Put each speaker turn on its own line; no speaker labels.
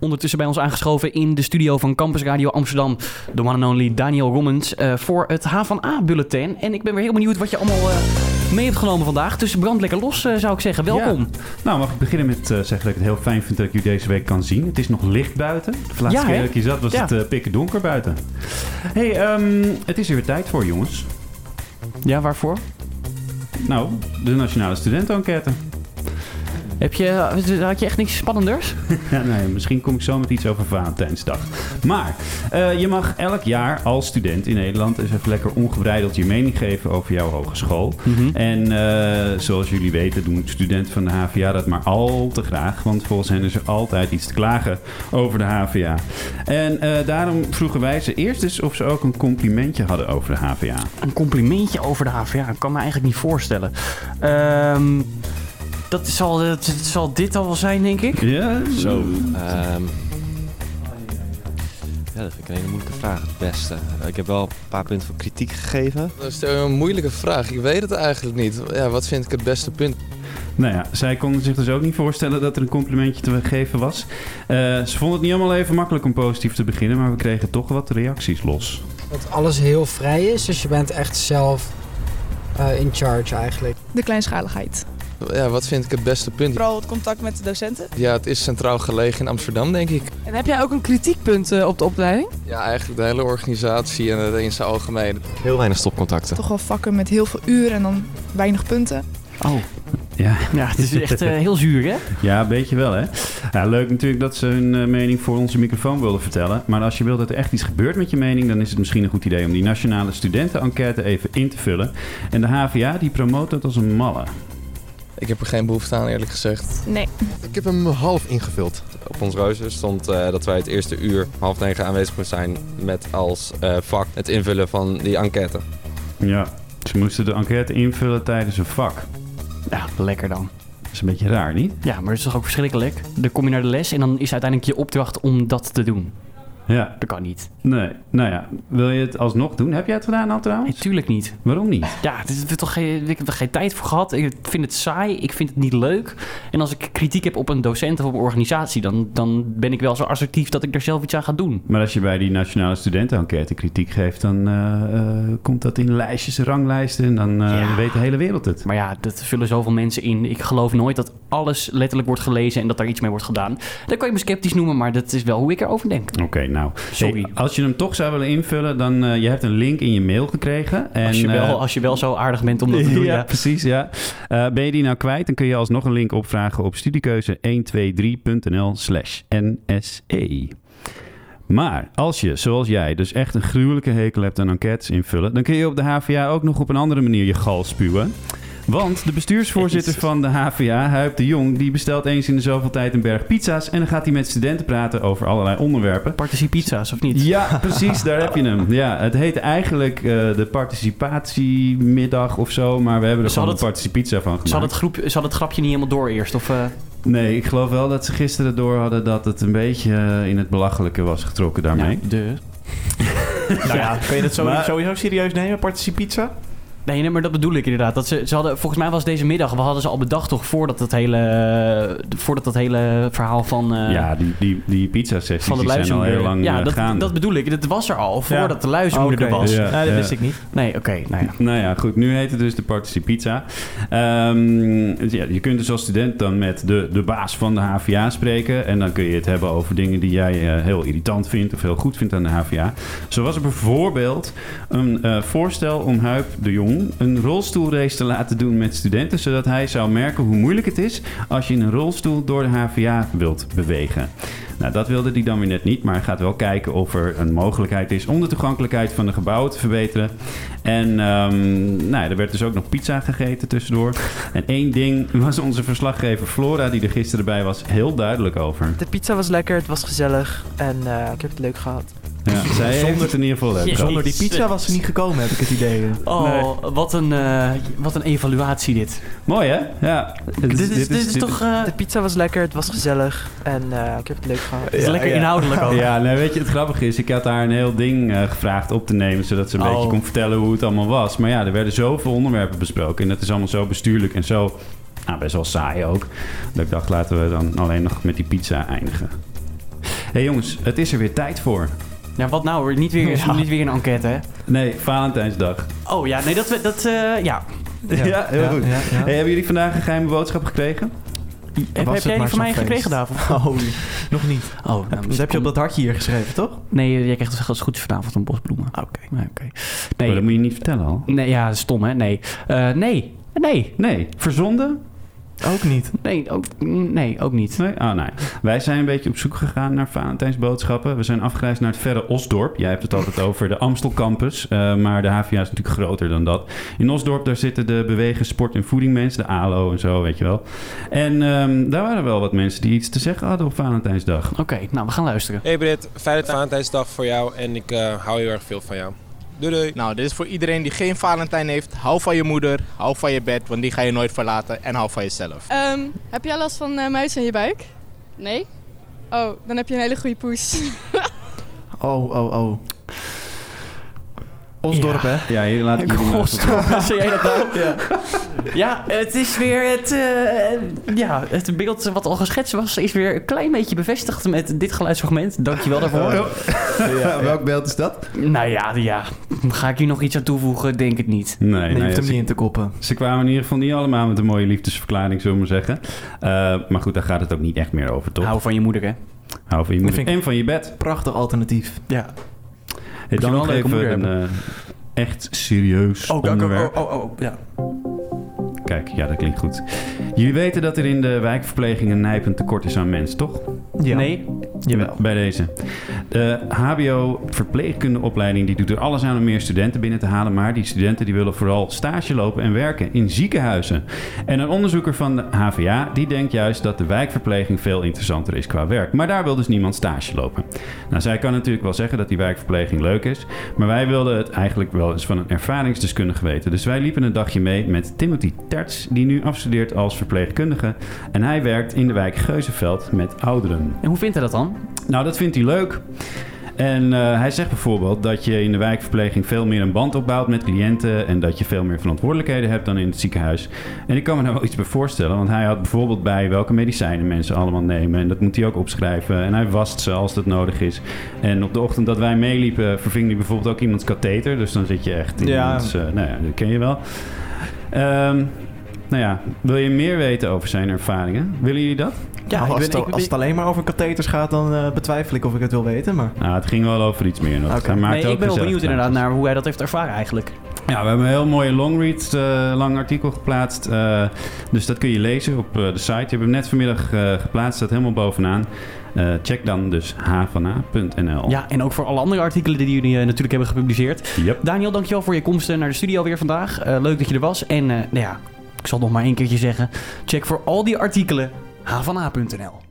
ondertussen bij ons aangeschoven in de studio van Campus Radio Amsterdam. De one and only Daniel Rommens eh, voor het H van A bulletin. En ik ben weer heel benieuwd wat je allemaal eh, mee hebt genomen vandaag. Dus brand lekker los, eh, zou ik zeggen. Welkom.
Ja. Nou, mag ik beginnen met eh, zeggen dat ik het heel fijn vind dat ik u deze week kan zien. Het is nog licht buiten. De laatste
Ja,
keer
hè?
dat ik hier zat was
Ja.
het eh pikken donker buiten. hey, ehm, het is er weer tijd voor, jongens.
Ja, waarvoor?
Nou, de Nationale Studentenenquête.
Heb je, eh, had je echt niks spannenders?
Ja, nee, misschien kom ik zo met iets over Valentijnsdag. Maar eh, je mag elk jaar als student in Nederland eens even lekker ongebreideld je mening geven over jouw hogeschool. En eh, zoals jullie weten doen studenten van de HVA dat maar al te graag. Want volgens hen is er altijd iets te klagen over de HVA. En eh, daarom vroegen wij ze eerst eens of ze ook een complimentje hadden over de HVA.
Een complimentje over de HVA. Ik kan me eigenlijk niet voorstellen. Ehm, dat, zal, dat zal dit al wel zijn, denk ik.
Ja, zo.
Ehm, ja, dat vind ik een hele moeilijke vraag. Het beste. Ik heb wel een paar punten van kritiek gegeven.
Dat is een moeilijke vraag. Ik weet het eigenlijk niet. Ja, wat vind ik het beste punt?
Nou ja, zij konden zich dus ook niet voorstellen dat er een complimentje te geven was. Eh, ze vonden het niet allemaal even makkelijk om positief te beginnen, maar we kregen toch wat reacties los.
Dat alles heel vrij is, dus je bent echt zelf eh, in charge eigenlijk.
De kleinschaligheid.
Ja, wat vind ik het beste punt?
Vooral het contact met de docenten.
Ja, het is centraal gelegen in Amsterdam, denk ik.
En heb jij ook een kritiekpunt eh, op de opleiding?
Ja, eigenlijk de hele organisatie en het in zijn algemeen.
Heel weinig stopcontacten.
Toch wel vakken met heel veel uren en dan weinig punten.
Oh,
Ja,
ja, het is echt eh, heel zuur, hè?
ja een beetje wel hè. Ja, leuk natuurlijk dat ze hun eh, mening voor onze microfoon wilden vertellen. Maar als je wilt dat er echt iets gebeurt met je mening, dan is het misschien een goed idee om die nationale studenten-enquête even in te vullen. En de HVA die promoot dat als een malle.
Ik heb er geen behoefte aan, eerlijk gezegd.
Nee.
Ik heb hem half ingevuld.
Op ons rooster stond eh, dat wij het eerste uur half negen aanwezig moesten zijn met als eh, vak het invullen van die enquête.
Ja, ze moesten de enquête invullen tijdens een vak.
Ja, lekker dan.
Dat is een beetje raar, niet?
Ja, maar het is toch ook verschrikkelijk? Dan kom je naar de les en dan is uiteindelijk je opdracht om dat te doen.
Ja,
Dat kan niet.
Nee, nou ja, wil je het alsnog doen? Heb jij het gedaan al
Nee,
trouwens?
tuurlijk niet.
Waarom niet?
Ja, het is, het is toch geen, ik heb er geen tijd voor gehad. Ik vind het saai. Ik vind het niet leuk. En als ik kritiek heb op een docent of op een organisatie, dan, dan ben ik wel zo assertief dat ik er zelf iets aan ga doen.
Maar als je bij die nationale studentenenquête kritiek geeft, dan eh, eh, komt dat in lijstjes, ranglijsten en dan eh,
Ja.
weet de hele wereld het.
Maar ja, dat vullen zoveel mensen in. Ik geloof nooit dat alles letterlijk wordt gelezen en dat daar iets mee wordt gedaan. Dat kan je me sceptisch noemen, maar dat is wel hoe ik erover denk.
Oké, nou.
Sorry.
Hey, als je hem toch zou willen invullen, dan eh, je hebt een link in je mail gekregen. En,
als, je
eh,
wel, als je wel zo aardig bent om dat te doen,
ja,
ja.
precies. Ja. Eh, ben je die nou kwijt, dan kun je alsnog een link opvragen op studiekeuze123.nl slash NSE. Maar als je, zoals jij, dus echt een gruwelijke hekel hebt aan enquêtes invullen... dan kun je op de HVA ook nog op een andere manier je gal spuwen. Want de bestuursvoorzitter
Jezus.
van de HVA, Huip de Jong... die bestelt eens in de zoveel tijd een berg pizza's... en dan gaat hij met studenten praten over allerlei onderwerpen.
Participe pizza's, of niet?
Ja, precies, daar heb je hem. Ja, het heet eigenlijk eh, de participatiemiddag of zo, maar we hebben er
Zal
gewoon
het-
een participizza van
Ze had,
gemaakt.
het groep, ze had het grapje niet helemaal door eerst, of... eh,
Nee, ik geloof wel dat ze gisteren door hadden dat het een beetje eh, in het belachelijke was getrokken daarmee.
nou, de...
Nou ja, kun je dat sowieso,
Maar-
sowieso serieus nemen, participizza?
Nee, nee, maar dat bedoel ik inderdaad. Dat ze, ze hadden, volgens mij was deze middag, we hadden ze al bedacht toch voordat dat hele, eh, voordat dat hele verhaal van, eh,
ja, die, die, die
van
pizza-sessies
de
die zijn al
luizenmoeder.
heel lang
ja,
eh,
dat,
gaande. Oh,
dat bedoel ik. Dat was er al voordat de luizenmoeder er
Oké.
was.
Ja,
Nee, dat
ja.
wist ik niet.
Nee, oké. nou ja.
Nou ja, goed. Nu heet het dus de Participizza. Ehm dus ja, je kunt dus als student dan met de, de baas van de HVA spreken. En dan kun je het hebben over dingen die jij eh, heel irritant vindt of heel goed vindt aan de HVA. Zo was er bijvoorbeeld een eh, voorstel om Huip de Jong een rolstoelrace te laten doen met studenten. Zodat hij zou merken hoe moeilijk het is als je in een rolstoel door de HVA wilt bewegen. Nou, dat wilde hij dan weer net niet, maar hij gaat wel kijken of er een mogelijkheid is om de toegankelijkheid van de gebouwen te verbeteren. En ehm, nou, ja, er werd dus ook nog pizza gegeten tussendoor. En één ding was onze verslaggever Flora, die er gisteren bij was, heel duidelijk over.
De pizza was lekker, het was gezellig en eh, ik heb het leuk gehad.
Ja, zij heeft het in ieder geval leuk.
Jezus.
gehad.
Zonder die pizza was ze niet gekomen, heb ik het idee.
Oh, wat, een, eh, wat een evaluatie dit.
Mooi hè? Ja.
Dit is, dit is, toch eh,
De pizza was lekker, het was gezellig en eh, ik heb het leuk gehad.
het is lekker inhoudelijk ook.
Ja, nee, weet je, het grappige is, ik had haar een heel ding eh, gevraagd op te nemen, zodat ze een
Oh.
beetje kon vertellen hoe het allemaal was. Maar ja, er werden zoveel onderwerpen besproken en dat is allemaal zo bestuurlijk en zo, nou, best wel saai ook. Dat ik dacht, laten we dan alleen nog met die pizza eindigen. hey jongens, het is er weer tijd voor.
Ja, wat nou? hoor? Niet weer,
Ja.
niet weer een enquête, hè?
Nee, Valentijnsdag.
Oh ja, nee, dat... we- dat eh, ja.
Ja, heel goed.
ja, ja.
Hey, hebben jullie vandaag een geheime boodschap gekregen?
Heb, heb
het
jij die van
maar zo'n
mij
feest?
gekregen, David?
Oh, nog niet.
Oh, nou,
Dus heb je op dat hartje hier geschreven, toch?
Nee, jij krijgt als goed is vanavond een bosbloemen.
Oké.
Nee, oké.
Nee. Oh, dat
nee,
moet je niet vertellen al.
nee, ja, stom, hè? Nee. Eh, nee. Nee,
Nee, verzonden?
Ook niet.
nee, ook, nee, ook niet.
Nee? Oh, nee. Wij zijn een beetje op zoek gegaan naar Valentijnsboodschappen. We zijn afgereisd naar het verre Osdorp. Jij hebt het altijd over de Amstel Campus. eh, maar de HVA is natuurlijk groter dan dat. In Osdorp, daar zitten de bewegen, sport en voeding mensen. De ALO en zo, weet je wel. En ehm, daar waren wel wat mensen die iets te zeggen hadden op Valentijnsdag.
Oké, nou, we gaan luisteren.
Hey Britt, fijne Valentijnsdag voor jou en ik eh, hou heel erg veel van jou. Doei doei.
Nou, dit is voor iedereen die geen Valentijn heeft. Hou van je moeder, hou van je bed, want die ga je nooit verlaten. En hou van jezelf.
Ehm, heb jij last van eh, muizen in je buik? Nee. Oh, dan heb je een hele goede poes.
Oh, oh, oh. Osdorp, hè?
Ja, hier laat ik jullie maar eens op-
Zie jij dat nou? Ja. het is weer het... eh, ja, het beeld wat al geschetst was... is weer een klein beetje bevestigd met dit geluidsfragment. Dankjewel daarvoor.
Ja, ja.
Welk beeld is dat?
Nou ja, ja. Ga ik hier nog iets aan toevoegen? Denk het niet.
Nee,
Nee, je
nou ja,
hoeft hem
ze-
niet in te koppen.
Ze kwamen in ieder geval niet allemaal met een mooie liefdesverklaring, zullen we maar zeggen. Eh, maar goed, daar gaat het ook niet echt meer over, toch? Hou,
Hou van je moeder, hè?
van je moeder
Nou, vind ik-
en van je bed.
Prachtig alternatief. Ja.
Hey, dan
wel
nog
een leuke
even
moeder
een eh, echt serieus onderwerp.
oh, oh, ja.
Kijk, ja, dat klinkt goed. Jullie weten dat er in de wijkverpleging een nijpend tekort is aan mensen, toch?
Nee?
Jawel.
Bij deze. De HBO-verpleegkundeopleiding die doet er alles aan om meer studenten binnen te halen. Maar die studenten die willen vooral stage lopen en werken in ziekenhuizen. En een onderzoeker van de HVA die denkt juist dat de wijkverpleging veel interessanter is qua werk. Maar daar wil dus niemand stage lopen. Nou, zij kan natuurlijk wel zeggen dat die wijkverpleging leuk is. Maar wij wilden het eigenlijk wel eens van een ervaringsdeskundige weten. Dus wij liepen een dagje mee met Timothy Terts, die nu afstudeert als verpleegkundige. En hij werkt in de wijk Geuzenveld met ouderen.
En hoe vindt hij dat dan?
Nou, dat vindt hij leuk. En eh, hij zegt bijvoorbeeld dat je in de wijkverpleging veel meer een band opbouwt met cliënten en dat je veel meer verantwoordelijkheden hebt dan in het ziekenhuis. En ik kan me daar wel iets bij voorstellen, want hij had bijvoorbeeld bij welke medicijnen mensen allemaal nemen en dat moet hij ook opschrijven. En hij wast ze als dat nodig is. En op de ochtend dat wij meeliepen eh, verving hij bijvoorbeeld ook iemands katheter, dus dan zit je echt in
Ja.
iemands, eh, nou ja, dat ken je wel. Ehm, nou ja, wil je meer weten over zijn ervaringen? Willen jullie dat?
Ja,
Nou,
ik
als
ben-
het al-
ik- als het alleen maar over katheters gaat, dan eh, betwijfel ik of ik het wil weten. Maar
Nou, het ging wel over iets meer nog.
Oké.
Hij maakte
nee,
ook
ik ben wel
gezellig
benieuwd inderdaad
plaatjes.
naar hoe hij dat heeft ervaren eigenlijk.
Ja, we hebben een heel mooie longread, eh lang artikel geplaatst. eh, dus dat kun je lezen op eh, de site. Je hebt hem net vanmiddag eh, geplaatst, staat helemaal bovenaan. Eh, check dan dus hvna.nl.
Ja, en ook voor alle andere artikelen die jullie eh, natuurlijk hebben gepubliceerd.
Yep.
Daniel, dankjewel voor je komst eh, naar de studio weer vandaag. Eh, leuk dat je er was. En eh, nou ja, ik zal het nog maar één keertje zeggen. Check voor al die artikelen hvna.nl.